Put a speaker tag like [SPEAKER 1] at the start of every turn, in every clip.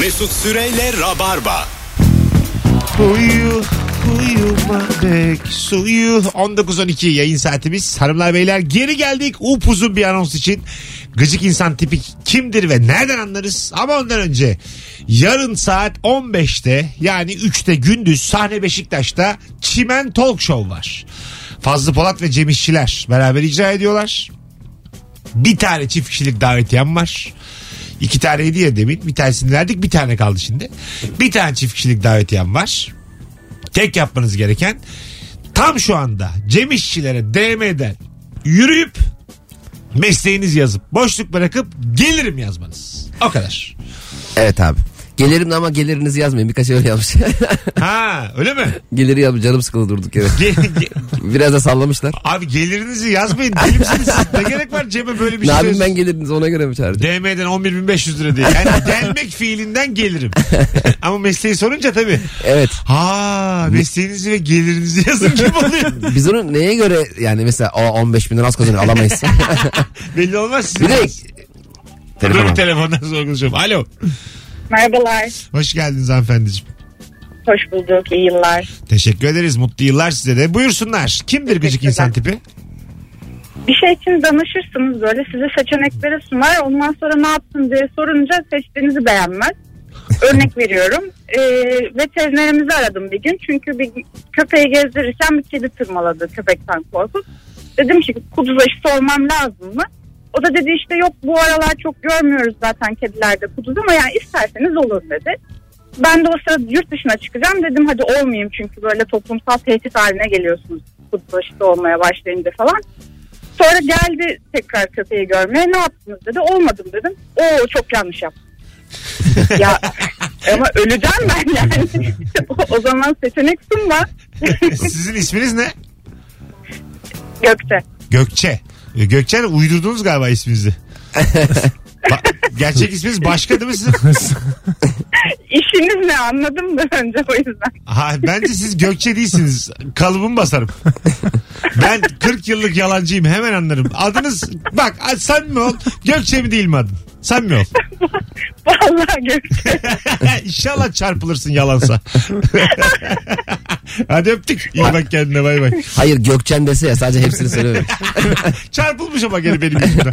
[SPEAKER 1] Mesut Süreyle Rabarba.
[SPEAKER 2] Uyu, uyuma bek, suyu. 19.12 yayın saatimiz. Hanımlar beyler geri geldik upuzun bir anons için. Gıcık insan tipi kimdir ve nereden anlarız? Ama ondan önce yarın saat 15'te yani 3'te gündüz sahne Beşiktaş'ta Çimen Talk Show var. Fazlı Polat ve Cem İşçiler beraber icra ediyorlar. Bir tane çift kişilik davetiyem var. İki taneydi ya demin. Bir tanesini verdik bir tane kaldı şimdi. Bir tane çift kişilik davetiyem var. Tek yapmanız gereken tam şu anda Cem İşçilere DM'den yürüyüp mesleğiniz yazıp boşluk bırakıp gelirim yazmanız. O kadar.
[SPEAKER 3] Evet abi. Gelirim de ama gelirinizi yazmayın. Birkaç öyle yapmış.
[SPEAKER 2] Ha öyle mi?
[SPEAKER 3] Geliri yap canım sıkıldı durduk yere.
[SPEAKER 2] Ge- ge-
[SPEAKER 3] Biraz da sallamışlar.
[SPEAKER 2] Abi gelirinizi yazmayın. Deli misiniz? Ne gerek var Cem'e böyle bir
[SPEAKER 3] ne
[SPEAKER 2] şey?
[SPEAKER 3] yapayım ben
[SPEAKER 2] yazıyorsun?
[SPEAKER 3] gelirinizi ona göre mi çağıracağım?
[SPEAKER 2] DM'den 11.500 lira diye. Yani gelmek fiilinden gelirim. Ama mesleği sorunca tabii.
[SPEAKER 3] Evet.
[SPEAKER 2] Ha mesleğinizi ve gelirinizi yazın kim oluyor?
[SPEAKER 3] Biz onu neye göre yani mesela o 15 bin lira az kazanıyor alamayız.
[SPEAKER 2] Belli olmaz sizin.
[SPEAKER 3] bir de
[SPEAKER 2] Dur bir
[SPEAKER 3] telefon.
[SPEAKER 2] telefondan sonra konuşalım. Alo.
[SPEAKER 4] Merhabalar.
[SPEAKER 2] Hoş geldiniz hanımefendiciğim.
[SPEAKER 4] Hoş bulduk. iyi yıllar.
[SPEAKER 2] Teşekkür ederiz. Mutlu yıllar size de. Buyursunlar. Kimdir gıcık
[SPEAKER 4] Teşekkürler.
[SPEAKER 2] insan tipi?
[SPEAKER 4] Bir şey için danışırsınız böyle. Size seçeneklere sunar. Ondan sonra ne yaptın diye sorunca seçtiğinizi beğenmez. Örnek veriyorum. Ee, veterinerimizi aradım bir gün. Çünkü bir köpeği gezdirirken bir kedi tırmaladı köpekten korkup. Dedim ki kuduz aşısı olmam lazım mı? O da dedi işte yok bu aralar çok görmüyoruz zaten kedilerde kuduz ama yani isterseniz olur dedi. Ben de o sırada yurt dışına çıkacağım dedim hadi olmayayım çünkü böyle toplumsal tehdit haline geliyorsunuz kuduz aşısı olmaya başlayınca falan. Sonra geldi tekrar köpeği görmeye ne yaptınız dedi olmadım dedim. Oo çok yanlış yaptım. ya ama öleceğim ben yani. o, o zaman seçenek sunma.
[SPEAKER 2] Sizin isminiz ne?
[SPEAKER 4] Gökte.
[SPEAKER 2] Gökçe. Ee, Gökçe Hanım uydurdunuz galiba isminizi. Ba- gerçek isminiz başka değil mi sizin?
[SPEAKER 4] İşiniz ne anladım da önce o yüzden.
[SPEAKER 2] Ha, bence siz Gökçe değilsiniz. Kalıbımı basarım. Ben 40 yıllık yalancıyım hemen anlarım. Adınız bak sen mi ol Gökçe mi değil mi adın? Sen mi ol?
[SPEAKER 4] Vallahi Gökte.
[SPEAKER 2] İnşallah çarpılırsın yalansa. Hadi öptük. İyi bak kendine bay bay.
[SPEAKER 3] Hayır Gökçen dese ya sadece hepsini söylemiyorum.
[SPEAKER 2] Çarpılmış ama gene benim yüzümden.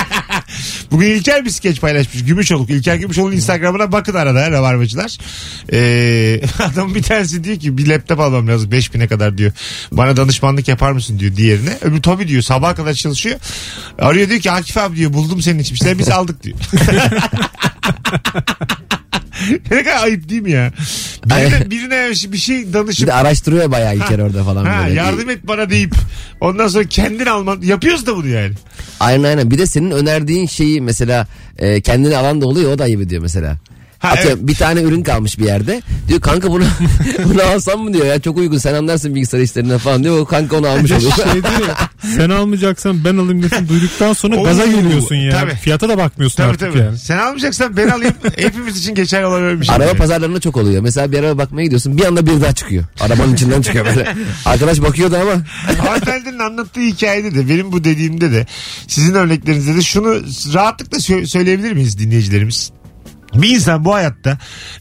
[SPEAKER 2] Bugün İlker bir skeç paylaşmış. Gümüşoluk. İlker Gümüşoluk'un Instagram'ına bakın arada Rabarbacılar. Ee, adam bir tanesi diyor ki bir laptop almam lazım 5000'e kadar diyor. Bana danışmanlık yapar mısın diyor diğerine. Öbürü tabii diyor sabaha kadar çalışıyor. Arıyor diyor ki Akif abi diyor buldum senin için bir şeyler, biz aldık diyor. ne kadar ayıp değil mi ya? Birine, birine bir şey
[SPEAKER 3] Bir
[SPEAKER 2] danışıp
[SPEAKER 3] de araştırıyor bayağı İlker orada falan
[SPEAKER 2] ha,
[SPEAKER 3] böyle.
[SPEAKER 2] yardım et bana deyip ondan sonra kendin alman yapıyoruz da bunu yani.
[SPEAKER 3] Aynen aynen. Bir de senin önerdiğin şeyi mesela e, kendine alan da oluyor o da ayıp ediyor mesela.
[SPEAKER 2] Ha,
[SPEAKER 3] Atıyorum bir tane ürün kalmış bir yerde. Diyor kanka bunu, bunu alsam mı diyor ya çok uygun sen anlarsın bilgisayar işlerinden falan diyor. O kanka onu almış oluyor.
[SPEAKER 5] şey diyor ya, sen almayacaksan ben alayım diyorsun duyduktan sonra
[SPEAKER 2] Oo,
[SPEAKER 5] gaza geliyorsun ya.
[SPEAKER 2] tabii.
[SPEAKER 5] Fiyata da bakmıyorsun
[SPEAKER 2] Tabii
[SPEAKER 5] artık
[SPEAKER 2] tabii.
[SPEAKER 5] yani.
[SPEAKER 2] Sen almayacaksan ben alayım. Hepimiz için geçerli olabilir bir şey.
[SPEAKER 3] Araba
[SPEAKER 2] Yani.
[SPEAKER 3] pazarlarında çok oluyor. Mesela bir araba bakmaya gidiyorsun bir anda bir daha çıkıyor. Arabanın içinden çıkıyor böyle. Arkadaş bakıyordu ama
[SPEAKER 2] Hani Hanımefendinin anlattığı hikayede de benim bu dediğimde de sizin örneklerinizde de şunu rahatlıkla sö- söyleyebilir miyiz dinleyicilerimiz? Bir insan bu hayatta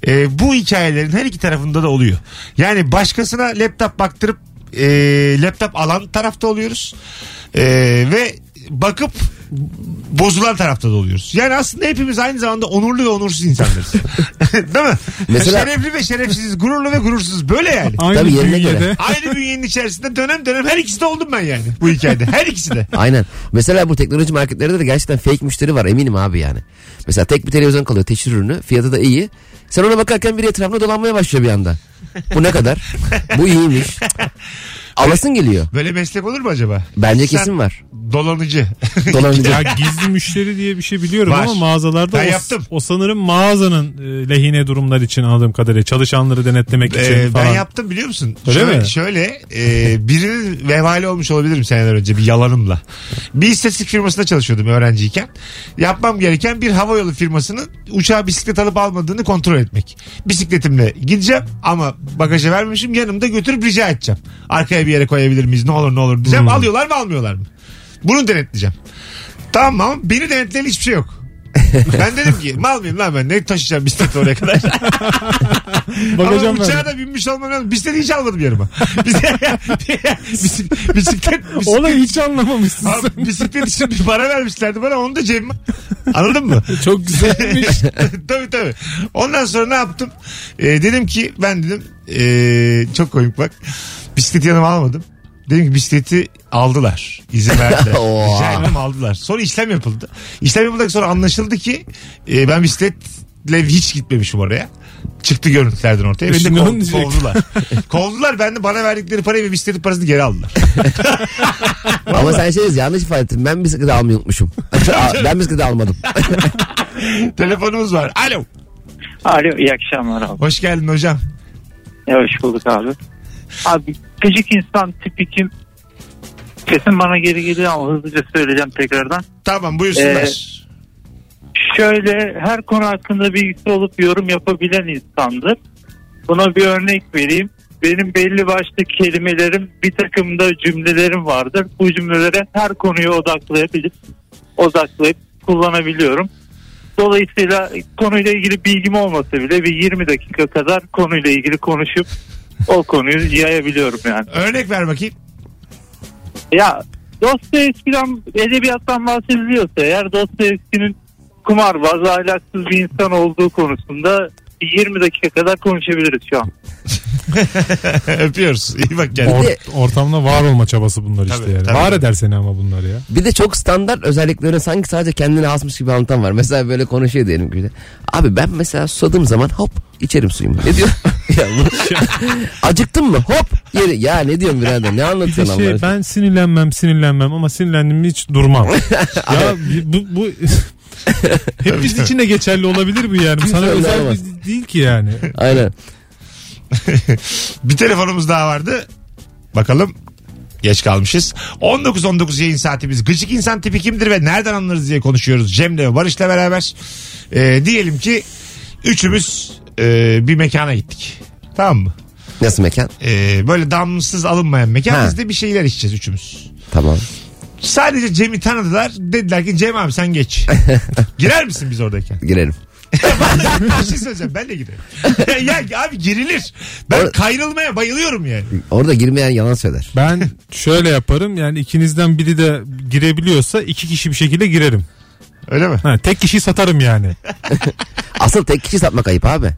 [SPEAKER 2] e, bu hikayelerin her iki tarafında da oluyor. Yani başkasına laptop baktırıp e, laptop alan tarafta oluyoruz. E, ve bakıp bozulan tarafta da oluyoruz. Yani aslında hepimiz aynı zamanda onurlu ve onursuz insanlarız. Değil mi?
[SPEAKER 3] Mesela-
[SPEAKER 2] Şerefli ve şerefsiziz, gururlu ve gurursuz. Böyle yani.
[SPEAKER 5] Aynı
[SPEAKER 3] Tabii yerine
[SPEAKER 5] bünyede
[SPEAKER 3] göre.
[SPEAKER 2] Aynı bünyenin içerisinde dönem dönem her ikisi de oldum ben yani bu hikayede. Her ikisi de.
[SPEAKER 3] aynen. Mesela bu teknoloji marketlerde de gerçekten fake müşteri var eminim abi yani. Mesela tek bir televizyon kalıyor teşhir ürünü fiyatı da iyi. Sen ona bakarken biri etrafına dolanmaya başlıyor bir anda. Bu ne kadar? Bu iyiymiş. Alasın geliyor.
[SPEAKER 2] Böyle meslek olur mu acaba?
[SPEAKER 3] Bence
[SPEAKER 2] Sen
[SPEAKER 3] kesin var.
[SPEAKER 2] Dolanıcı.
[SPEAKER 3] Dolanıcı.
[SPEAKER 5] Ya gizli müşteri diye bir şey biliyorum
[SPEAKER 2] Var.
[SPEAKER 5] ama mağazalarda
[SPEAKER 2] Ben
[SPEAKER 5] o,
[SPEAKER 2] yaptım.
[SPEAKER 5] o sanırım mağazanın e, lehine durumlar için anladığım kadarıyla çalışanları denetlemek için
[SPEAKER 2] Ee,
[SPEAKER 5] falan.
[SPEAKER 2] ben yaptım biliyor musun?
[SPEAKER 5] Öyle
[SPEAKER 2] şöyle,
[SPEAKER 5] mi?
[SPEAKER 2] Şöyle e, birinin vebali olmuş olabilirim seneler önce bir yalanımla. Bir istatistik firmasında çalışıyordum öğrenciyken. Yapmam gereken bir havayolu firmasının uçağa bisiklet alıp almadığını kontrol etmek. Bisikletimle gideceğim ama bagaja vermemişim yanımda götürüp rica edeceğim. Arkaya bir yere koyabilir miyiz ne olur ne olur
[SPEAKER 5] Hmm.
[SPEAKER 2] diyeceğim. Alıyorlar mı almıyorlar mı? Bunu denetleyeceğim. Tamam ama beni denetleyen hiçbir şey yok. ben dedim ki mal mıyım lan ben ne taşıyacağım bisikleti oraya kadar. Ama
[SPEAKER 5] Bakacağım
[SPEAKER 2] uçağa
[SPEAKER 5] ben.
[SPEAKER 2] da binmiş olmam lazım. Bisikleti hiç almadım yanıma. bisiklet, bisiklet, bisiklet,
[SPEAKER 5] Olayı hiç anlamamışsın.
[SPEAKER 2] Abi bisiklet için bir para vermişlerdi bana onu da cebime. Anladın mı?
[SPEAKER 5] Çok güzelmiş.
[SPEAKER 2] tabii tabii. Ondan sonra ne yaptım? Ee, dedim ki ben dedim ee, çok komik bak. Bisikleti yanıma almadım. Dedim ki bisikleti aldılar. İzin verdiler.
[SPEAKER 3] Oha.
[SPEAKER 2] Rica ettim aldılar. Sonra işlem yapıldı. İşlem yapıldıktan sonra anlaşıldı ki ee, ben bisikletle hiç gitmemişim oraya. Çıktı görüntülerden ortaya. Beni de
[SPEAKER 5] Şimdi onu
[SPEAKER 2] kov,
[SPEAKER 5] diyecektim.
[SPEAKER 2] kovdular. kovdular. Ben de bana verdikleri parayı ve bisikletin parasını geri aldılar.
[SPEAKER 3] Ama sen şey yanlış ifade ettin. Ben bisikleti almayı unutmuşum. ben bisikleti almadım.
[SPEAKER 2] Telefonumuz var. Alo.
[SPEAKER 6] Alo iyi akşamlar abi.
[SPEAKER 2] Hoş geldin hocam.
[SPEAKER 6] Ya, hoş bulduk abi. Abi gıcık insan tipi kim? Kesin bana geri geliyor ama hızlıca söyleyeceğim tekrardan.
[SPEAKER 2] Tamam buyursunlar.
[SPEAKER 6] Şöyle her konu hakkında bilgisi olup yorum yapabilen insandır. Buna bir örnek vereyim. Benim belli başlı kelimelerim bir takım da cümlelerim vardır. Bu cümlelere her konuyu odaklayabilip odaklayıp kullanabiliyorum. Dolayısıyla konuyla ilgili bilgim olmasa bile bir 20 dakika kadar konuyla ilgili konuşup o konuyu yayabiliyorum yani.
[SPEAKER 2] Örnek ver bakayım.
[SPEAKER 6] Ya Dostoyevski'den edebiyattan bahsediliyorsa eğer Dostoyevski'nin kumarbaz, ahlaksız bir insan olduğu konusunda bir 20 dakika kadar konuşabiliriz şu an.
[SPEAKER 2] Öpüyoruz. İyi bak kendine.
[SPEAKER 3] Or-
[SPEAKER 5] Or- ortamda var olma çabası bunlar işte
[SPEAKER 2] Tabii,
[SPEAKER 5] yani.
[SPEAKER 2] tabii.
[SPEAKER 5] Var eder seni ama bunlar ya.
[SPEAKER 3] Bir de çok standart özelliklerini sanki sadece kendine hasmış gibi anlatan var. Mesela böyle konuşuyor diyelim ki. de, Abi ben mesela susadığım zaman hop içerim suyumu. Ne diyor? ya bu- Acıktın mı? Hop. Yeri. Ya ne diyorsun birader? Ne
[SPEAKER 5] Bir de
[SPEAKER 3] anlatıyorsun Allah
[SPEAKER 5] şey
[SPEAKER 3] aşkına?
[SPEAKER 5] ben sinirlenmem sinirlenmem ama sinirlendim mi hiç durmam. ya bu, bu hepimiz için de geçerli olabilir bu yani. Sana
[SPEAKER 3] Kimse
[SPEAKER 5] özel
[SPEAKER 3] anlamaz.
[SPEAKER 5] bir değil ki yani.
[SPEAKER 3] Aynen.
[SPEAKER 2] Bir telefonumuz daha vardı. Bakalım. Geç kalmışız. 19-19 yayın saatimiz. Gıcık insan tipi kimdir ve nereden anlarız diye konuşuyoruz. Cem'le ve Barış'la beraber. Ee, diyelim ki üçümüz e, bir mekana gittik. Tamam mı?
[SPEAKER 3] Nasıl mekan?
[SPEAKER 2] Ee, böyle damsız alınmayan mekan.
[SPEAKER 3] Ha.
[SPEAKER 2] Biz de bir şeyler içeceğiz üçümüz.
[SPEAKER 3] Tamam.
[SPEAKER 2] Sadece Cem'i tanıdılar. Dediler ki Cem abi sen geç. Girer misin biz oradayken?
[SPEAKER 3] Girelim.
[SPEAKER 2] bir şey söyleyeceğim ben de giderim. ya abi girilir. Ben
[SPEAKER 3] Or-
[SPEAKER 2] kayrılmaya bayılıyorum yani.
[SPEAKER 3] Orada girmeyen yalan söyler.
[SPEAKER 5] Ben şöyle yaparım yani ikinizden biri de girebiliyorsa iki kişi bir şekilde girerim.
[SPEAKER 2] Öyle mi?
[SPEAKER 5] Ha, tek kişiyi satarım yani.
[SPEAKER 3] Asıl tek kişi satmak ayıp abi.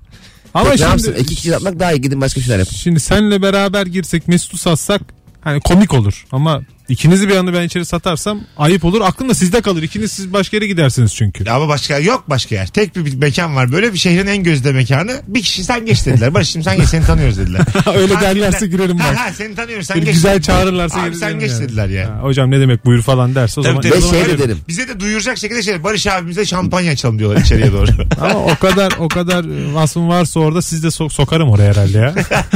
[SPEAKER 5] Ama
[SPEAKER 3] Tek ne yapsın?
[SPEAKER 5] şimdi,
[SPEAKER 3] İki kişi satmak daha iyi. Gidin başka şeyler yapın.
[SPEAKER 5] şimdi senle beraber girsek Mesut'u satsak hani komik olur ama ikinizi bir anda ben içeri satarsam ayıp olur. Aklım da sizde kalır. İkiniz siz başka yere gidersiniz çünkü.
[SPEAKER 2] Ya Ama başka yok başka yer. Tek bir, bir mekan var böyle bir şehrin en gözde mekanı. Bir kişi sen geç dediler. Barış'cığım sen geç seni tanıyoruz dediler.
[SPEAKER 5] Öyle
[SPEAKER 2] Ha,
[SPEAKER 5] derlerse
[SPEAKER 2] dediler.
[SPEAKER 5] girerim
[SPEAKER 2] Ha,
[SPEAKER 5] bak.
[SPEAKER 2] ha, seni tanıyoruz sen
[SPEAKER 5] Beni
[SPEAKER 2] geç.
[SPEAKER 5] güzel çağırırlarsa
[SPEAKER 2] Abi
[SPEAKER 5] gelirim
[SPEAKER 2] sen geç
[SPEAKER 5] yani.
[SPEAKER 2] dediler yani.
[SPEAKER 5] Ha, hocam ne demek buyur falan derse o
[SPEAKER 2] Tabii,
[SPEAKER 5] zaman.
[SPEAKER 2] tabii.
[SPEAKER 3] Ben
[SPEAKER 2] O zaman
[SPEAKER 3] şey de
[SPEAKER 2] girerim.
[SPEAKER 3] derim.
[SPEAKER 2] Bize de duyuracak şekilde şey Barış abimize şampanya açalım diyorlar içeriye doğru.
[SPEAKER 5] Ama o kadar o kadar e, vasfım varsa orada siz de sok- sokarım oraya herhalde ya.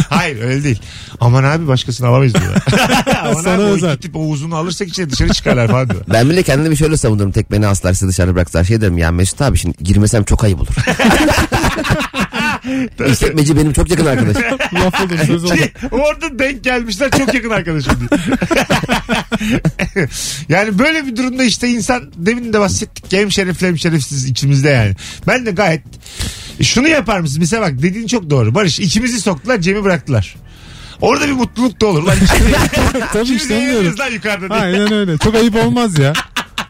[SPEAKER 2] Hayır öyle değil. Aman abi başkasını alamayız diyorlar. Aman
[SPEAKER 5] Sana
[SPEAKER 2] abi o
[SPEAKER 5] özel.
[SPEAKER 2] iki tip Oğuz'unu alırsak içeri dışarı çıkarlar falan diyorlar.
[SPEAKER 3] Ben bile kendimi şöyle savunurum. Tek beni aslar sizi dışarı bıraktılar. Şey derim ya Mesut abi şimdi girmesem çok ayıp olur. İşletmeci benim çok yakın arkadaşım.
[SPEAKER 5] Laf olur söz olur.
[SPEAKER 2] Ki Orada denk gelmişler çok yakın arkadaşım diye. yani böyle bir durumda işte insan demin de bahsettik ki hem şerefli hem şerefsiz içimizde yani. Ben de gayet e, şunu yapar mısın? Mesela bak dediğin çok doğru. Barış ikimizi soktular Cem'i bıraktılar. Orada bir mutluluk da olur. Lan
[SPEAKER 5] Tabii
[SPEAKER 2] ikimiz
[SPEAKER 5] işte
[SPEAKER 2] de
[SPEAKER 5] anlıyorum.
[SPEAKER 2] yeriz lan yukarıda diye.
[SPEAKER 5] Aynen öyle. Çok ayıp olmaz ya.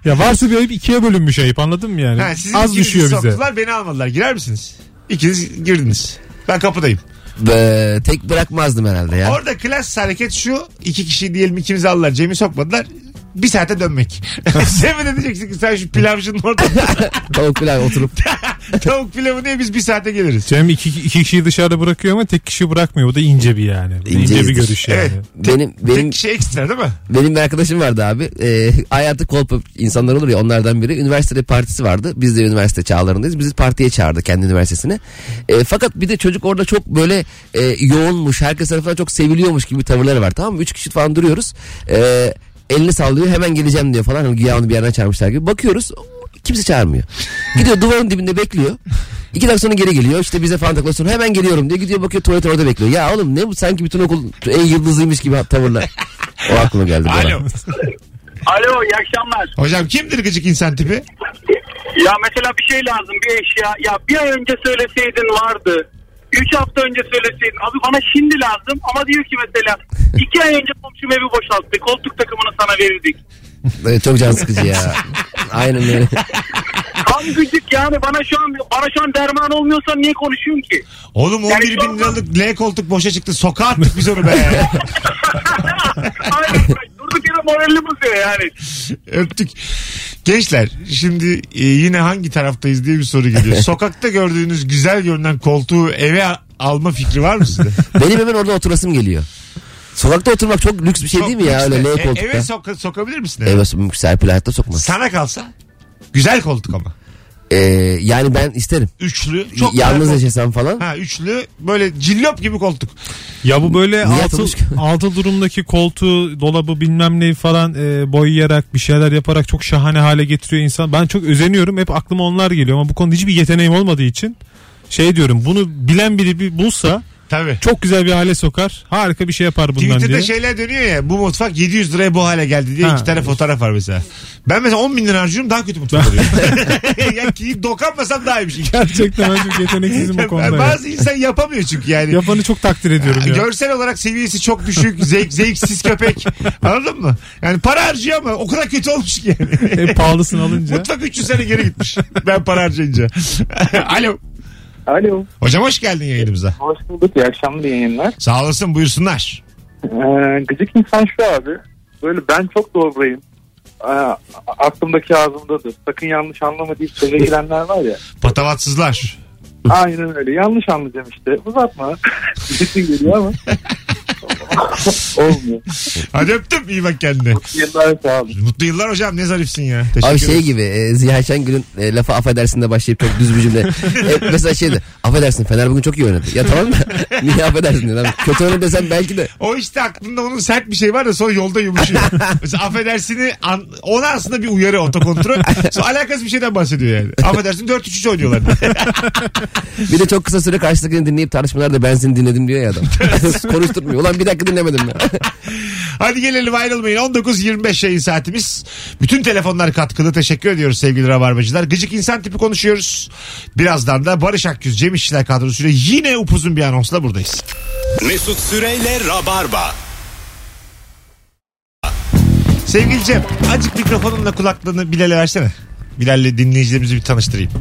[SPEAKER 5] Ya varsa bir ayıp ikiye bölünmüş ayıp anladın mı yani?
[SPEAKER 2] Ha, sizin
[SPEAKER 5] Az
[SPEAKER 2] ikinizi
[SPEAKER 5] düşüyor bize.
[SPEAKER 2] soktular beni almadılar. Girer misiniz? İkiniz girdiniz. Ben kapıdayım.
[SPEAKER 3] Be, tek bırakmazdım herhalde ya.
[SPEAKER 2] Orada klas hareket şu. iki kişi diyelim ikimiz aldılar. Cem'i sokmadılar. Bir saate dönmek. sen mi de diyeceksin ki sen şu pilavcının orada
[SPEAKER 3] Tavuk pilav oturup.
[SPEAKER 2] tavuk pilavı niye biz bir saate geliriz.
[SPEAKER 5] Cem iki, iki kişiyi dışarıda bırakıyor ama tek kişiyi bırakmıyor. Bu da ince bir yani. Bu da İnce,
[SPEAKER 3] İnceyiz.
[SPEAKER 5] bir görüş
[SPEAKER 2] Şey,
[SPEAKER 5] yani.
[SPEAKER 2] Evet.
[SPEAKER 3] Benim
[SPEAKER 2] Tek
[SPEAKER 3] benim
[SPEAKER 2] kişi ekstra değil mi?
[SPEAKER 3] benim bir arkadaşım vardı abi. Ee, hayatı kolpa insanlar olur ya onlardan biri. Üniversitede bir partisi vardı. Biz de üniversite çağlarındayız. Bizi partiye çağırdı kendi üniversitesine. Ee, fakat bir de çocuk orada çok böyle e, yoğunmuş. Herkes tarafından çok seviliyormuş gibi tavırları var tamam mı? Üç kişi falan duruyoruz. Ee, elini sallıyor hemen geleceğim diyor falan. Hani Güya onu bir yerden çağırmışlar gibi. Bakıyoruz kimse çağırmıyor. Gidiyor duvarın dibinde bekliyor. İki dakika sonra geri geliyor. İşte bize falan takılıyor. Sonra hemen geliyorum diyor. Gidiyor bakıyor tuvalet orada bekliyor. Ya oğlum ne bu sanki bütün okul en yıldızıymış gibi tavırlar. O aklıma geldi. bana.
[SPEAKER 2] Alo.
[SPEAKER 7] Alo iyi akşamlar.
[SPEAKER 2] Hocam kimdir gıcık insan tipi?
[SPEAKER 7] Ya mesela bir şey lazım bir eşya. Ya bir ay önce söyleseydin vardı. Üç hafta önce söyleseydin. Abi bana şimdi lazım ama diyor ki mesela iki ay önce komşum evi boşalttı. Koltuk takımını sana verirdik.
[SPEAKER 3] Evet, çok can sıkıcı ya. Aynen öyle.
[SPEAKER 7] Tam gıcık yani bana şu an bana şu an derman olmuyorsan niye konuşuyorum ki?
[SPEAKER 2] Oğlum 11 bin liralık L koltuk boşa çıktı. Sokağa attık biz onu be.
[SPEAKER 7] Aynen durduk yere moralini bozuyor yani.
[SPEAKER 2] Öptük. Gençler şimdi e, yine hangi taraftayız diye bir soru geliyor. Sokakta gördüğünüz güzel görünen koltuğu eve a- alma fikri var mı sizde?
[SPEAKER 3] Benim hemen orada oturasım geliyor. Sokakta oturmak çok lüks bir şey değil mi ya?
[SPEAKER 2] Çok
[SPEAKER 3] Öyle L
[SPEAKER 2] lüks de. E,
[SPEAKER 3] koltukta.
[SPEAKER 2] Eve soka- sokabilir misin? eve?
[SPEAKER 3] Eve mümkün serpil hayatta sokmaz.
[SPEAKER 2] Sana kalsa güzel koltuk ama.
[SPEAKER 3] Ee, yani ben isterim.
[SPEAKER 2] Üçlü.
[SPEAKER 3] Çok
[SPEAKER 2] Çok
[SPEAKER 3] Yalnız
[SPEAKER 2] koltuk.
[SPEAKER 3] yaşasam falan.
[SPEAKER 2] Ha üçlü böyle cillop gibi koltuk.
[SPEAKER 5] Ya bu böyle
[SPEAKER 3] Niye
[SPEAKER 5] altı,
[SPEAKER 3] atılmış ki?
[SPEAKER 5] altı durumdaki koltuğu, dolabı bilmem neyi falan e, boyayarak bir şeyler yaparak çok şahane hale getiriyor insan. Ben çok özeniyorum. Hep aklıma onlar geliyor ama bu konuda hiçbir yeteneğim olmadığı için şey diyorum. Bunu bilen biri bir bulsa
[SPEAKER 2] Tabii.
[SPEAKER 5] çok güzel bir hale sokar. Harika bir şey yapar bundan
[SPEAKER 2] Twitter'da
[SPEAKER 5] diye.
[SPEAKER 2] şeyler dönüyor ya bu mutfak 700 liraya bu hale geldi diye
[SPEAKER 5] Ha.
[SPEAKER 2] iki tane fotoğraf var mesela. Ben mesela 10 bin lira harcıyorum daha kötü mutfak oluyor. ya ki dokanmasam daha iyiymiş.
[SPEAKER 5] Gerçekten ben çok yeteneksizim bu konuda. ya.
[SPEAKER 2] Bazı insan yapamıyor çünkü yani.
[SPEAKER 5] Yapanı çok takdir ediyorum ya.
[SPEAKER 2] Görsel olarak seviyesi çok düşük. Zevk, zevksiz köpek. Anladın mı? Yani para harcıyor ama o kadar kötü olmuş ki yani.
[SPEAKER 5] Hep pahalısını alınca.
[SPEAKER 2] Mutfak 300 sene geri gitmiş. Ben para harcayınca. Alo.
[SPEAKER 6] Alo.
[SPEAKER 2] Hocam hoş geldin yayınımıza.
[SPEAKER 6] Hoş bulduk. İyi akşamlar iyi yayınlar.
[SPEAKER 2] Sağ olasın buyursunlar.
[SPEAKER 6] Ee, gıcık insan şu abi. Böyle ben çok dobrayım. Ee, aklımdaki ağzımdadır. Sakın yanlış anlama deyip söze girenler var ya.
[SPEAKER 2] Patavatsızlar.
[SPEAKER 6] Aynen öyle. Yanlış anlayacağım işte. Uzatma. Sesin geliyor ama. Olmuyor.
[SPEAKER 2] Hadi öptüm iyi bak kendine.
[SPEAKER 6] Yıllar sağ olun.
[SPEAKER 2] Mutlu yıllar hocam ne zarifsin ya. Teşekkür
[SPEAKER 3] Abi şey
[SPEAKER 2] ederim.
[SPEAKER 3] gibi e, Ziya Şengül'ün e, lafı affedersin de başlayıp çok düz bir cümle. E, mesela şeydi affedersin Fener bugün çok iyi oynadı. Ya tamam da niye affedersin diyor. Lan Kötü oynadı desem belki de.
[SPEAKER 2] O işte aklında onun sert bir şey var da sonra yolda yumuşuyor. Mesela affedersini an- ona aslında bir uyarı otokontrol. Sonra alakasız bir şeyden bahsediyor yani. Affedersin 4-3-3 oynuyorlar.
[SPEAKER 3] Bir de çok kısa süre karşıdakini dinleyip tartışmalarda ben seni dinledim diyor ya adam. Konuşturmuyor. Ulan bir dakika dinlemedim ben.
[SPEAKER 2] Hadi gelelim ayrılmayın. 19.25 yayın saatimiz. Bütün telefonlar katkılı. Teşekkür ediyoruz sevgili rabarbacılar. Gıcık insan tipi konuşuyoruz. Birazdan da Barış Akgüz, Cem İşçiler kadrosuyla yine upuzun bir anonsla buradayız.
[SPEAKER 1] Mesut Süreyle Rabarba.
[SPEAKER 2] Sevgili Cem, acık mikrofonunla kulaklığını Bilal'e versene. Bilal'le dinleyicilerimizi bir tanıştırayım.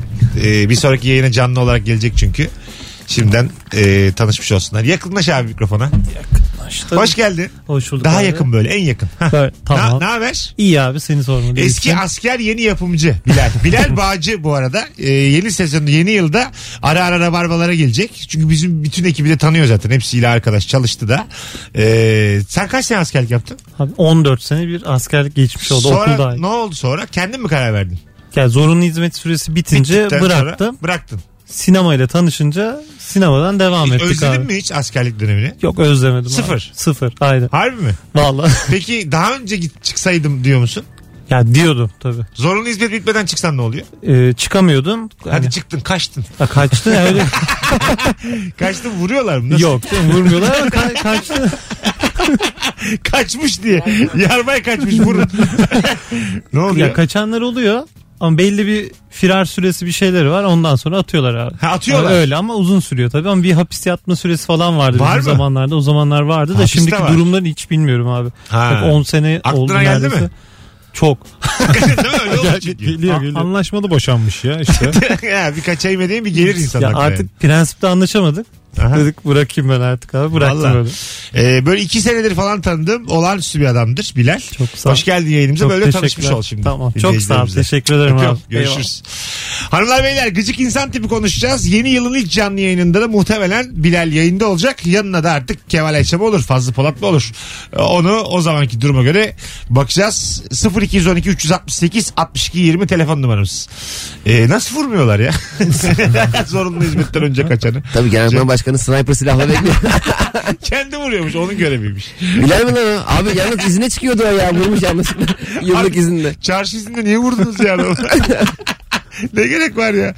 [SPEAKER 2] Ee, bir sonraki yayına canlı olarak gelecek çünkü. Şimdiden e, tanışmış olsunlar. Yakınlaş abi mikrofona.
[SPEAKER 8] Tabii.
[SPEAKER 2] Hoş geldin.
[SPEAKER 8] Hoş bulduk
[SPEAKER 2] Daha
[SPEAKER 8] abi.
[SPEAKER 2] yakın böyle en yakın. Hah.
[SPEAKER 8] Böyle, tamam.
[SPEAKER 2] Ne haber?
[SPEAKER 8] İyi abi seni sormalı.
[SPEAKER 2] Eski asker yeni yapımcı Bilal. Bilal Bağcı bu arada e, yeni sezonda yeni yılda ara ara rabarbalara gelecek. Çünkü bizim bütün ekibi de tanıyor zaten. Hepsiyle arkadaş çalıştı da. E, sen kaç sene askerlik yaptın?
[SPEAKER 8] Abi 14 sene bir askerlik geçmiş oldu
[SPEAKER 2] sonra
[SPEAKER 8] okulda.
[SPEAKER 2] ne oldu sonra? Kendin mi karar verdin?
[SPEAKER 8] Yani zorunlu hizmet süresi bitince
[SPEAKER 2] Bittikten sonra
[SPEAKER 8] bıraktım.
[SPEAKER 2] Bıraktın.
[SPEAKER 8] Sinemayla tanışınca sinemadan devam ettik
[SPEAKER 2] Özledin
[SPEAKER 8] abi.
[SPEAKER 2] mi hiç askerlik dönemini?
[SPEAKER 8] Yok özlemedim abi.
[SPEAKER 2] Sıfır.
[SPEAKER 8] Sıfır. Aynen.
[SPEAKER 2] Harbi mi?
[SPEAKER 8] Valla.
[SPEAKER 2] Peki daha önce git çıksaydım diyor musun?
[SPEAKER 8] ya diyordum tabii.
[SPEAKER 2] Zorunlu hizmet bitmeden çıksan ne oluyor?
[SPEAKER 8] Ee, çıkamıyordum.
[SPEAKER 2] Hadi
[SPEAKER 8] Yani,
[SPEAKER 2] çıktın kaçtın.
[SPEAKER 8] ha, kaçtı. ya öyle.
[SPEAKER 2] Kaçtın vuruyorlar mı? Nasıl?
[SPEAKER 8] Yok canım, vurmuyorlar ama ka- kaçtı.
[SPEAKER 2] Kaçmış diye. Yarbay kaçmış vurun. ne oluyor?
[SPEAKER 8] ya kaçanlar oluyor. Ama belli bir firar süresi bir şeyleri var. Ondan sonra atıyorlar abi.
[SPEAKER 2] Ha, atıyorlar.
[SPEAKER 8] Ama Öyle ama uzun sürüyor tabii. Ama bir hapis yatma süresi falan vardı
[SPEAKER 2] Var
[SPEAKER 8] bizim
[SPEAKER 2] mı?
[SPEAKER 8] zamanlarda. O zamanlar vardı da
[SPEAKER 2] Hapiste
[SPEAKER 8] şimdiki
[SPEAKER 2] var.
[SPEAKER 8] durumları hiç bilmiyorum abi.
[SPEAKER 2] Ha.
[SPEAKER 8] Bak 10 sene
[SPEAKER 2] Aklına
[SPEAKER 8] oldu
[SPEAKER 2] geldi
[SPEAKER 8] neredeyse.
[SPEAKER 2] mi?
[SPEAKER 8] Çok.
[SPEAKER 2] Değil mi? Öyle olur çünkü.
[SPEAKER 8] Geliyor
[SPEAKER 5] A-
[SPEAKER 8] geliyor.
[SPEAKER 5] anlaşmalı boşanmış ya işte.
[SPEAKER 2] ya birkaç ay medeni bir gelir insan
[SPEAKER 8] Ya
[SPEAKER 2] aklına
[SPEAKER 8] artık prensipte anlaşamadık.
[SPEAKER 2] yani. Aha.
[SPEAKER 8] Dedik bırakayım ben artık abi. Bıraktım
[SPEAKER 2] Vallahi.
[SPEAKER 8] böyle.
[SPEAKER 2] Ee, böyle iki senedir falan tanıdığım olağanüstü bir adamdır Bilal.
[SPEAKER 8] Çok sağ ol.
[SPEAKER 2] Hoş geldin yayınımıza.
[SPEAKER 8] Çok
[SPEAKER 2] böyle tanışmış
[SPEAKER 8] teşekkürler.
[SPEAKER 2] ol şimdi.
[SPEAKER 8] Tamam. Çok sağ ol.
[SPEAKER 2] dinleyicilerimize.
[SPEAKER 8] Teşekkür ederim
[SPEAKER 2] Öpüyorum.
[SPEAKER 8] abi.
[SPEAKER 2] Görüşürüz. Hanımlar beyler gıcık insan tipi konuşacağız. Yeni yılın ilk canlı yayınında da muhtemelen Bilal yayında olacak. Yanına da artık Kemal Ayça mı olur? Fazlı Polat mı olur? Ee, Onu o zamanki duruma göre bakacağız. 0212 368 62 20 telefon numaramız. Ee, nasıl vurmuyorlar ya? Zorunlu hizmetten önce kaçanı.
[SPEAKER 3] Tabii Genelkurmay Başkanı sniper silahla bekliyor.
[SPEAKER 2] Kendi vuruyormuş onun göreviymiş.
[SPEAKER 3] Bilal mi lan o? Abi yalnız izine çıkıyordu o ya. Vurmuş yalnız. Yıllık
[SPEAKER 2] Abi-
[SPEAKER 3] izinde.
[SPEAKER 2] Çarşı izinde niye vurdunuz yani? ne gerek var ya?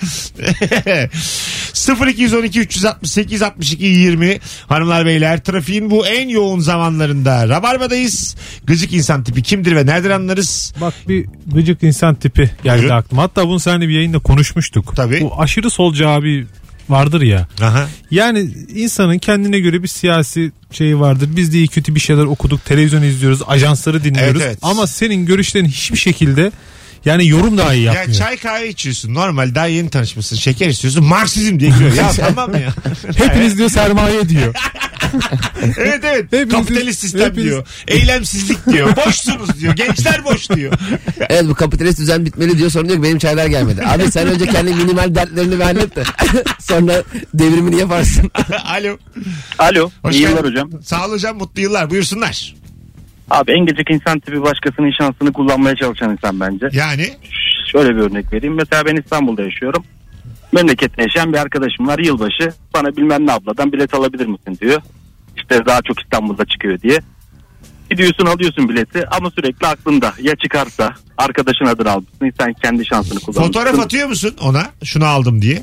[SPEAKER 2] 0212 368 62 20 hanımlar beyler trafiğin bu en yoğun zamanlarında Rabarba'dayız. Gıcık insan tipi kimdir ve nereden anlarız?
[SPEAKER 5] Bak bir gıcık insan tipi geldi
[SPEAKER 2] Buyurun.
[SPEAKER 5] aklıma. Hatta bunu seninle bir yayında konuşmuştuk.
[SPEAKER 2] Tabii.
[SPEAKER 5] Bu aşırı solcu abi vardır ya.
[SPEAKER 2] Aha.
[SPEAKER 5] Yani insanın kendine göre bir siyasi şeyi vardır. Biz de iyi kötü bir şeyler okuduk, televizyon izliyoruz, ajansları dinliyoruz.
[SPEAKER 2] Evet, evet.
[SPEAKER 5] Ama senin görüşlerin hiçbir şekilde yani yorum dahi
[SPEAKER 2] Ya
[SPEAKER 5] yapmıyor.
[SPEAKER 2] çay kahve içiyorsun normal daha yeni tanışmışsın şeker istiyorsun Marksizm diye giriyor ya tamam mı ya?
[SPEAKER 5] Hepiniz diyor sermaye diyor.
[SPEAKER 2] evet evet
[SPEAKER 5] Hepiniz-
[SPEAKER 2] kapitalist sistem
[SPEAKER 5] hepiniz-
[SPEAKER 2] diyor eylemsizlik diyor boşsunuz diyor gençler boş diyor.
[SPEAKER 3] Evet bu kapitalist düzen bitmeli diyor sonra diyor ki benim çaylar gelmedi. Abi sen önce kendi minimal dertlerini bir hallet de sonra devrimini yaparsın.
[SPEAKER 2] Alo
[SPEAKER 7] Alo.
[SPEAKER 2] Hoş
[SPEAKER 7] iyi
[SPEAKER 2] geldin.
[SPEAKER 7] yıllar hocam.
[SPEAKER 2] sağ ol hocam mutlu yıllar buyursunlar.
[SPEAKER 7] Abi en gıcık insan tipi başkasının şansını kullanmaya çalışan insan bence.
[SPEAKER 2] Yani
[SPEAKER 7] Şöyle bir örnek vereyim. Mesela ben İstanbul'da yaşıyorum. Memlekette yaşayan bir arkadaşım var yılbaşı. Bana bilmem ne abladan bilet alabilir misin diyor. İşte daha çok İstanbul'da çıkıyor diye. Gidiyorsun alıyorsun bileti ama sürekli aklında. Ya çıkarsa arkadaşın adını almışsın sen kendi şansını kullanmışsın.
[SPEAKER 2] fotoğraf atıyor musun ona şunu aldım diye?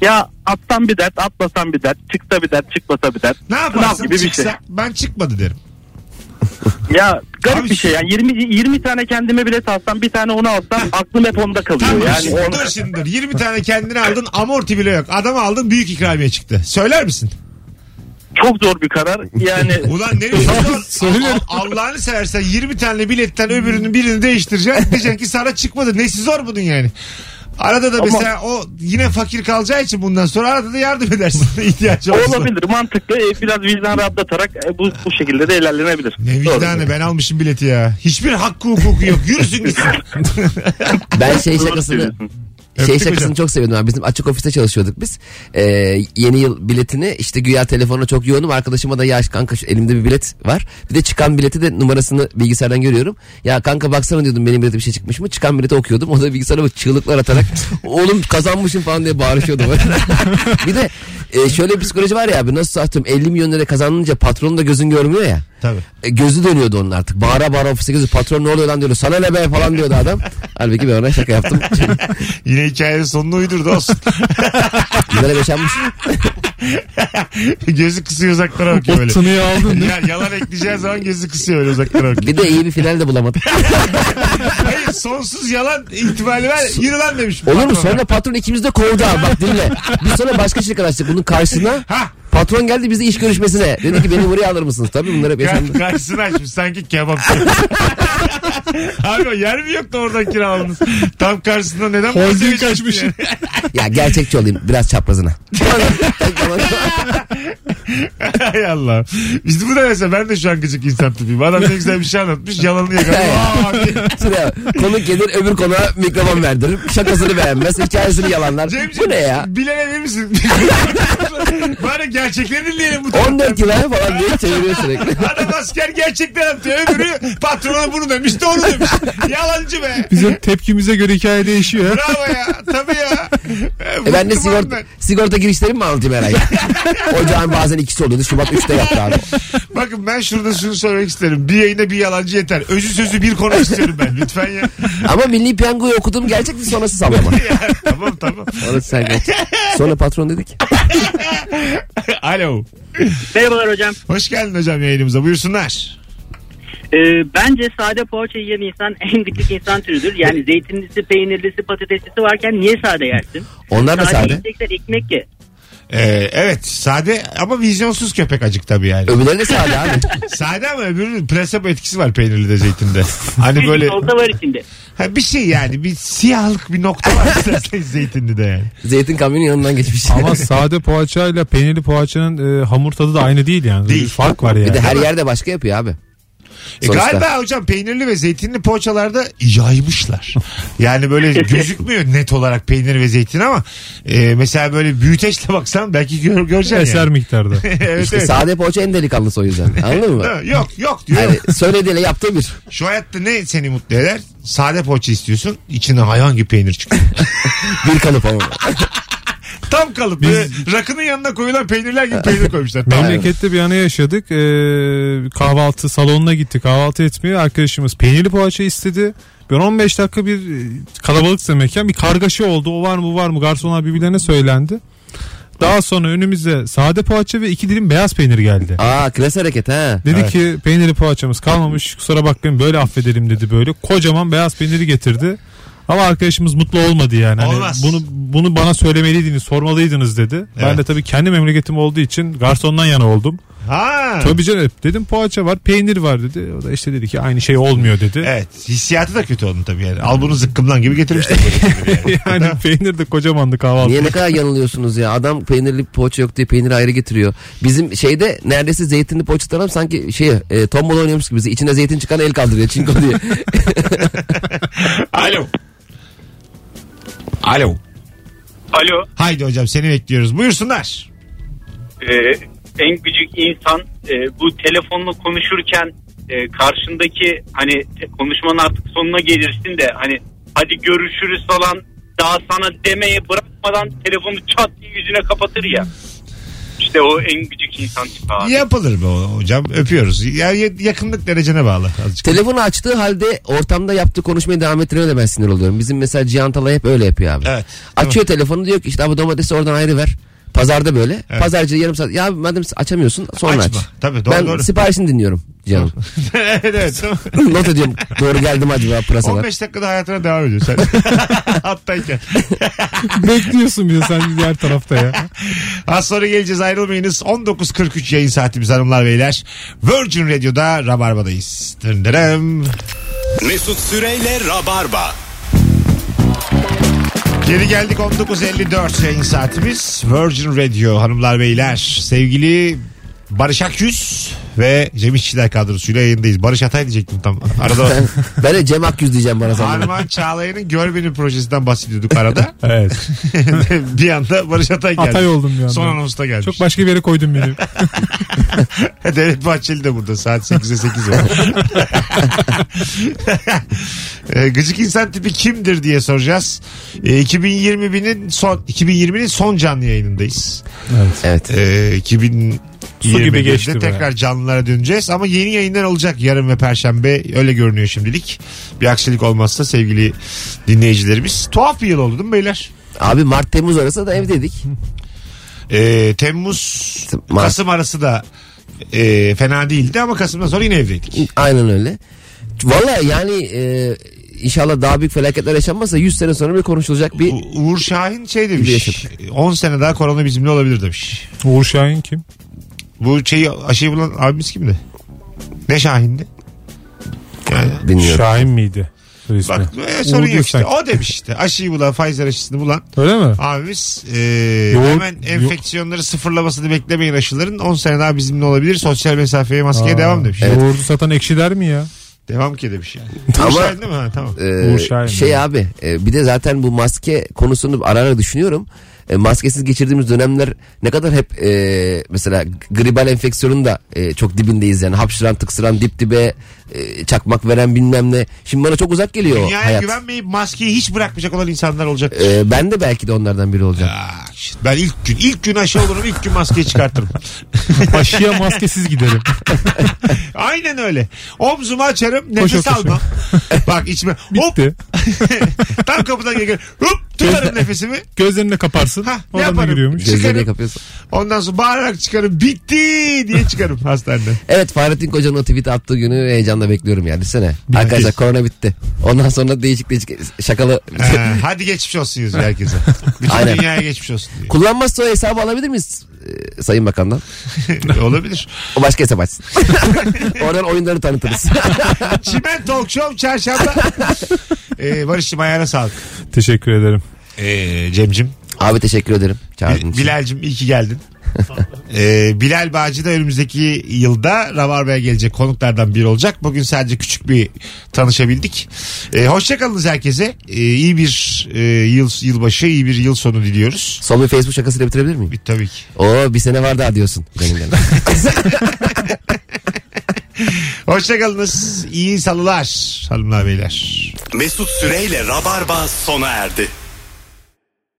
[SPEAKER 7] Ya atsan bir dert atmasan bir dert çıksa bir dert çıkmasa bir dert.
[SPEAKER 2] Ne
[SPEAKER 7] Sınav
[SPEAKER 2] yaparsın
[SPEAKER 7] gibi bir
[SPEAKER 2] çıksa
[SPEAKER 7] şey.
[SPEAKER 2] ben çıkmadı derim.
[SPEAKER 7] Ya garip
[SPEAKER 2] Abi-
[SPEAKER 7] bir şey yani 20 20 tane kendime bilet alsam bir tane onu alsam aklım hep onda kalıyor
[SPEAKER 2] Tamam
[SPEAKER 7] yani.
[SPEAKER 2] şimdi,
[SPEAKER 7] on-
[SPEAKER 2] dur şimdi dur. 20 tane kendine aldın amorti bile yok. Adamı aldın büyük ikramiye çıktı. Söyler misin?
[SPEAKER 7] Çok zor bir karar. Yani
[SPEAKER 2] Ulan ne diyorsun? lan?
[SPEAKER 5] Söylüyorum.
[SPEAKER 2] Al- al- Allah'ını seversen 20 tane biletten öbürünün birini değiştireceksin. Diyeceksin ki sana çıkmadı. Nesi zor bunun yani? Arada da mesela o yine fakir kalacağı için bundan sonra arada da yardım edersin ihtiyacı olsun.
[SPEAKER 7] Olabilir mantıklı E, biraz vicdan rahatlatarak e, bu, bu şekilde de ilerlenebilir.
[SPEAKER 2] Ne
[SPEAKER 7] Doğru.
[SPEAKER 2] vicdanı ben almışım bileti ya. Hiçbir hakkı hukuku yok. Yürüsün gitsin.
[SPEAKER 3] Ben şey
[SPEAKER 7] Doğru
[SPEAKER 3] şakasını
[SPEAKER 7] söylüyorsun.
[SPEAKER 3] Şey
[SPEAKER 2] Öptük
[SPEAKER 3] şakasını
[SPEAKER 2] hocam.
[SPEAKER 3] çok seviyordum abi. Bizim açık ofiste çalışıyorduk biz. Ee, yeni yıl biletini işte güya telefonla çok yoğunum. Arkadaşıma da ya kanka şu elimde bir bilet var. Bir de çıkan bileti de numarasını bilgisayardan görüyorum. Ya kanka baksana diyordum benim bilete bir şey çıkmış mı? Çıkan bileti okuyordum. O da bilgisayara bak çığlıklar atarak oğlum kazanmışım falan diye bağırışıyordu. bir de e, şöyle bir psikoloji var ya abi nasıl atıyorum 50 milyon lira kazanınca patronun da gözün görmüyor ya.
[SPEAKER 2] Tabii.
[SPEAKER 3] E, gözü dönüyordu onun artık. Bağıra bağıra ofise gözü patron ne oluyor lan diyordu. Sana ne be falan diyordu adam. Halbuki ben ona şaka yaptım.
[SPEAKER 2] Yine hikayenin sonunu uydurdu olsun.
[SPEAKER 3] Güzel yaşanmış.
[SPEAKER 2] Gözü kısıyor uzaklara bakıyor böyle.
[SPEAKER 5] Tınıyı aldın değil mi?
[SPEAKER 2] Ya, yalan ekleyeceği zaman gözü kısıyor öyle uzaklara bakıyor.
[SPEAKER 3] Bir de iyi bir final de bulamadık.
[SPEAKER 2] Hayır sonsuz yalan ihtimali var. Yürü lan demiş.
[SPEAKER 3] Olur mu?
[SPEAKER 2] Patrona.
[SPEAKER 3] Sonra patron ikimiz de kovdu abi bak dinle. Biz sonra başka şirket açtık bunun karşısına.
[SPEAKER 2] Ha.
[SPEAKER 3] Patron geldi bizi iş görüşmesine. Dedi ki beni buraya alır mısınız? Tabii bunlara bir
[SPEAKER 2] Kar- karşısını açmış sanki kebapçı. Abi o yer mi yoktu oradan kiraladınız? Tam karşısında neden
[SPEAKER 5] Holding
[SPEAKER 2] bahsediyorsun
[SPEAKER 5] kaçmış.
[SPEAKER 2] yani?
[SPEAKER 3] Ya gerçekçi olayım biraz çaprazına.
[SPEAKER 2] Hay Allah. Biz bu da mesela ben de şu an gıcık insan tipiyim. Adam ne güzel bir şey anlatmış yalanını yakaladı. Aa, abi.
[SPEAKER 3] Şuraya konuk gelir öbür konuğa mikrofon verdiririm. Şakasını beğenmez hikayesini yalanlar.
[SPEAKER 2] Cemciğim,
[SPEAKER 3] Bu ne ya?
[SPEAKER 2] Bilene verir misin? Bari gerçekleri dinleyelim bu
[SPEAKER 3] 14 yıl ha falan diye çeviriyor sürekli.
[SPEAKER 2] Adam asker gerçekten anlatıyor. Öbürü patrona bunu demiş doğru demiş. Yalancı be.
[SPEAKER 5] Bizim tepkimize göre hikaye değişiyor.
[SPEAKER 2] Bravo ya. Tabii ya.
[SPEAKER 3] E ben de
[SPEAKER 2] Bıktım
[SPEAKER 3] sigorta,
[SPEAKER 2] abi
[SPEAKER 3] sigorta girişlerimi mi anlatayım her ay? Ocağın bazen ikisi oluyordu. Şubat 3'te yaptı abi.
[SPEAKER 2] ben. Bakın ben şurada şunu söylemek isterim. Bir yayına bir yalancı yeter. Özü sözü bir konu istiyorum ben. Lütfen ya.
[SPEAKER 3] Ama milli piyangoyu okudum gerçekti sonrası sallama.
[SPEAKER 2] ya tamam tamam.
[SPEAKER 3] Orası sen geç. Sonra patron dedik.
[SPEAKER 2] Alo.
[SPEAKER 9] Merhabalar hocam.
[SPEAKER 2] Hoş geldin hocam yayınımıza. Buyursunlar.
[SPEAKER 9] Ee, bence sade poğaça yiyen insan en gıcık insan türüdür. Yani zeytinlisi, peynirlisi, patateslisi varken niye sade yersin?
[SPEAKER 3] Onlar da sade.
[SPEAKER 9] yiyeceksen ekmek ye.
[SPEAKER 2] Ee, evet sade ama vizyonsuz köpek acık tabii yani.
[SPEAKER 3] Öbürleri de sade abi.
[SPEAKER 2] Sade ama öbürünün plasebo etkisi var peynirli de zeytinde. Hani böyle
[SPEAKER 9] Olsa var içinde.
[SPEAKER 2] ha, bir şey yani bir siyahlık bir nokta var istersen zeytinde de yani.
[SPEAKER 3] Zeytin kamyonun yanından geçmiş.
[SPEAKER 5] Ama sade poğaçayla peynirli poğaçanın e, hamur tadı da aynı değil yani.
[SPEAKER 2] Değil.
[SPEAKER 5] Bir fark var yani.
[SPEAKER 3] bir de her yerde başka yapıyor abi.
[SPEAKER 2] E
[SPEAKER 3] Sonuçta.
[SPEAKER 2] galiba hocam peynirli ve zeytinli poğaçalarda yaymışlar. Yani böyle gözükmüyor net olarak peynir ve zeytin ama e, mesela böyle büyüteçle baksan belki gör, göreceksin
[SPEAKER 5] Eser
[SPEAKER 2] şey yani.
[SPEAKER 5] miktarda.
[SPEAKER 2] evet,
[SPEAKER 3] İşte
[SPEAKER 2] evet.
[SPEAKER 3] sade poğaça en delikanlısı o yüzden. Anladın mı?
[SPEAKER 2] Ha, Yok yok diyor.
[SPEAKER 3] Yani söylediğiyle yaptığı bir.
[SPEAKER 2] Şu hayatta ne seni mutlu eder? Sade poğaça istiyorsun. içine hayvan gibi peynir çıkıyor.
[SPEAKER 3] Bir kalıp ama.
[SPEAKER 2] Tam kalıp. böyle rakının yanına koyulan peynirler gibi peynir koymuşlar. Tam
[SPEAKER 5] Memlekette bir anı yaşadık. Ee, kahvaltı salonuna gitti. Kahvaltı etmeye arkadaşımız peynirli poğaça istedi. Ben 15 dakika bir e, kalabalıksa mekan bir kargaşa oldu. O var mı bu var mı? Garsonlar birbirlerine söylendi. Daha sonra önümüze sade poğaça ve iki dilim beyaz peynir geldi.
[SPEAKER 3] Aa klas hareket ha.
[SPEAKER 5] Dedi ki peyniri poğaçamız kalmamış kusura bakmayın böyle affedelim dedi böyle. Kocaman beyaz peyniri getirdi. Ama arkadaşımız mutlu olmadı yani. Hani
[SPEAKER 2] Olmaz.
[SPEAKER 5] bunu bunu bana söylemeliydiniz, sormalıydınız dedi. Ben
[SPEAKER 2] Evet.
[SPEAKER 5] de tabii kendi memleketim olduğu için garsondan yana oldum.
[SPEAKER 2] Ha.
[SPEAKER 5] Tabii canım dedim poğaça var, peynir var dedi. O da işte dedi ki aynı şey olmuyor dedi.
[SPEAKER 2] Evet. Hissiyatı da kötü onun tabii yani. Al bunu zıkkımdan gibi getirmişler.
[SPEAKER 5] yani peynir de kocamandı kahvaltı.
[SPEAKER 3] Niye ne kadar yanılıyorsunuz ya? Adam peynirli poğaça yok diye peyniri ayrı getiriyor. Bizim şeyde neredeyse zeytinli poğaçalar ama sanki şey e, tombala oynuyormuş gibi. İçine zeytin çıkan el kaldırıyor çinko diye.
[SPEAKER 2] Alo. Alo.
[SPEAKER 7] Alo.
[SPEAKER 2] Haydi hocam seni bekliyoruz. Buyursunlar.
[SPEAKER 7] e, en gıcık insan e, bu telefonla konuşurken e, karşındaki hani te- konuşmanın artık sonuna gelirsin de hani hadi görüşürüz falan daha sana demeye bırakmadan telefonu çat diye yüzüne kapatır ya. İşte o en gıcık insan tipi abi.
[SPEAKER 2] Yapılır be o- hocam. Öpüyoruz. Ya, ya- yakınlık derecene bağlı azıcık.
[SPEAKER 3] Telefonu açtığı halde ortamda yaptığı konuşmayı devam ettirene de ben sinir oluyorum. Bizim mesela Cihan Talay hep öyle yapıyor abi.
[SPEAKER 2] Evet.
[SPEAKER 3] Açıyor telefonu diyor ki işte abi domatesi oradan ayrı ver. Pazarda böyle.
[SPEAKER 2] Evet.
[SPEAKER 3] Pazarcı yarım saat. Ya abi madem açamıyorsun sonra
[SPEAKER 2] Açma.
[SPEAKER 3] aç.
[SPEAKER 2] Tabii, doğru,
[SPEAKER 3] ben
[SPEAKER 2] doğru.
[SPEAKER 3] siparişini dinliyorum Cihan'ın.
[SPEAKER 2] evet evet. tamam.
[SPEAKER 3] Not ediyorum. Doğru geldim acaba pırasalar.
[SPEAKER 2] 15 dakikada hayatına devam ediyor sen. Hattayken.
[SPEAKER 5] Bekliyorsun bir de sen diğer tarafta ya.
[SPEAKER 2] Az sonra geleceğiz ayrılmayınız. 19.43 yayın saatimiz hanımlar beyler. Virgin Radio'da Rabarba'dayız. Dırndırım.
[SPEAKER 1] Mesut Süreyle Rabarba.
[SPEAKER 2] Geri geldik 19.54 yayın saatimiz. Virgin Radio hanımlar beyler. Sevgili Barış Akyüz ve Cem İşçiler kadrosuyla yayındayız. Barış Atay diyecektim tam. Arada
[SPEAKER 3] ben de Cem Akyüz diyeceğim bana sandım.
[SPEAKER 2] Arman Çağlayan'ın Gör Beni projesinden bahsediyorduk arada.
[SPEAKER 5] Evet.
[SPEAKER 2] bir anda Barış Atay geldi.
[SPEAKER 5] Atay oldum bir anda.
[SPEAKER 2] Son anonsta gelmiş.
[SPEAKER 5] Çok başka bir yere koydum beni.
[SPEAKER 2] Devlet Bahçeli de burada saat 8'e 8 var. Ee, Gıcık insan tipi kimdir diye soracağız. Ee, 2020'nin son 2020'nin son canlı yayınındayız.
[SPEAKER 3] Evet.
[SPEAKER 2] Ee, 2020
[SPEAKER 5] Su gibi geçti be.
[SPEAKER 2] tekrar canlılara döneceğiz ama yeni yayınlar olacak yarın ve perşembe öyle görünüyor şimdilik. Bir aksilik olmazsa sevgili dinleyicilerimiz. Tuhaf bir yıl oldu değil mi beyler?
[SPEAKER 3] Abi Mart Temmuz arası da evdeydik.
[SPEAKER 2] Ee, Temmuz
[SPEAKER 3] Mart.
[SPEAKER 2] Kasım arası da e, fena değildi ama Kasım'dan sonra yine evdeydik.
[SPEAKER 3] Aynen öyle. Valla yani e, inşallah daha büyük felaketler yaşanmazsa 100 sene sonra bir konuşulacak bir
[SPEAKER 2] U- Uğur Şahin şey
[SPEAKER 3] Bir
[SPEAKER 2] demiş.
[SPEAKER 3] yaşadık.
[SPEAKER 2] 10 sene daha korona bizimle olabilir demiş.
[SPEAKER 5] Uğur Şahin kim?
[SPEAKER 2] Bu şeyi aşıyı bulan abimiz kimdi? Ne Şahin'di?
[SPEAKER 3] bilmiyorum.
[SPEAKER 5] Şahin miydi? Soy ismi.
[SPEAKER 2] Bak e, sorun
[SPEAKER 5] Uğur
[SPEAKER 2] yok işte.
[SPEAKER 5] Gülşen.
[SPEAKER 2] O demiş işte. Aşıyı bulan, Pfizer aşısını bulan
[SPEAKER 5] Öyle mi?
[SPEAKER 2] abimiz e,
[SPEAKER 5] Yoğurt-
[SPEAKER 2] hemen enfeksiyonları sıfırlamasını beklemeyin aşıların. 10 sene daha bizimle olabilir. Sosyal mesafeye, maskeye devam demiş.
[SPEAKER 5] Yoğurdu satan ekşi der mi ya?
[SPEAKER 2] Devam ki demiş yani.
[SPEAKER 3] Ama-
[SPEAKER 2] Uğur Şahin değil mi? Ha, tamam.
[SPEAKER 3] E,
[SPEAKER 5] Uğur Şahin
[SPEAKER 3] şey
[SPEAKER 5] mi?
[SPEAKER 3] abi e, bir de zaten bu maske konusunu ara ara düşünüyorum. E, maskesiz geçirdiğimiz dönemler ne kadar hep e, mesela gribal enfeksiyonun da e, çok dibindeyiz yani hapşıran tıksıran dip dibe e, çakmak veren bilmem ne. Şimdi bana çok uzak geliyor o
[SPEAKER 2] Dünyaya
[SPEAKER 3] hayat.
[SPEAKER 2] güvenmeyip maskeyi hiç bırakmayacak olan insanlar olacak.
[SPEAKER 3] E, ben de belki de onlardan biri olacağım.
[SPEAKER 2] Aa, işte Ah, ben ilk gün ilk gün aşı olurum ilk gün maskeyi çıkartırım.
[SPEAKER 5] Aşıya maskesiz giderim.
[SPEAKER 2] Aynen öyle. Omzumu açarım nefes
[SPEAKER 5] Koşa koşa.
[SPEAKER 2] almam. Bak içime hop
[SPEAKER 5] Bitti.
[SPEAKER 2] tam kapıdan gel hop tutarım nefesimi.
[SPEAKER 5] Gözlerini de kaparsın.
[SPEAKER 2] Hah,
[SPEAKER 5] Oradan da
[SPEAKER 2] yaparım.
[SPEAKER 5] giriyormuş.
[SPEAKER 2] Çıkarım.
[SPEAKER 3] Gözlerini kapıyorsun.
[SPEAKER 2] Ondan sonra bağırarak çıkarım bitti diye çıkarım hastaneden.
[SPEAKER 3] Evet Fahrettin Koca'nın o tweet attığı günü heyecanla bekliyorum yani. Düşünsene. Arkadaşlar korona bitti. Ondan sonra değişik değişik şakalı.
[SPEAKER 2] Ha, hadi geçmiş olsun yazıyor herkese. Bütün
[SPEAKER 3] Aynen.
[SPEAKER 2] dünyaya geçmiş olsun diye.
[SPEAKER 3] Kullanmazsa o hesabı alabilir miyiz e, Sayın Bakan'dan?
[SPEAKER 2] Olabilir.
[SPEAKER 3] O başka hesap açsın. Oradan oyunları tanıtırız.
[SPEAKER 2] Çimen Talk Show çarşamba. ee, Barış'cığım ayağına sağlık.
[SPEAKER 5] Teşekkür ederim.
[SPEAKER 2] Ee, Cem'cim.
[SPEAKER 3] Abi teşekkür ederim. Çağırdığın için.
[SPEAKER 2] Bilal'cim iyi ki geldin. Ee, Bilal Bağcı da önümüzdeki yılda Rabarba'ya gelecek konuklardan biri olacak. Bugün sadece küçük bir tanışabildik. Ee, hoşçakalınız herkese. Ee, iyi bir e, yıl yılbaşı, iyi bir yıl sonu diliyoruz.
[SPEAKER 3] Son bir Facebook şakasıyla bitirebilir miyim?
[SPEAKER 2] Bir, tabii ki.
[SPEAKER 3] Oo bir sene var daha diyorsun. Benimle.
[SPEAKER 2] Hoşçakalınız. İyi salılar hanımlar beyler.
[SPEAKER 1] Mesut Süreyle Rabarba sona erdi.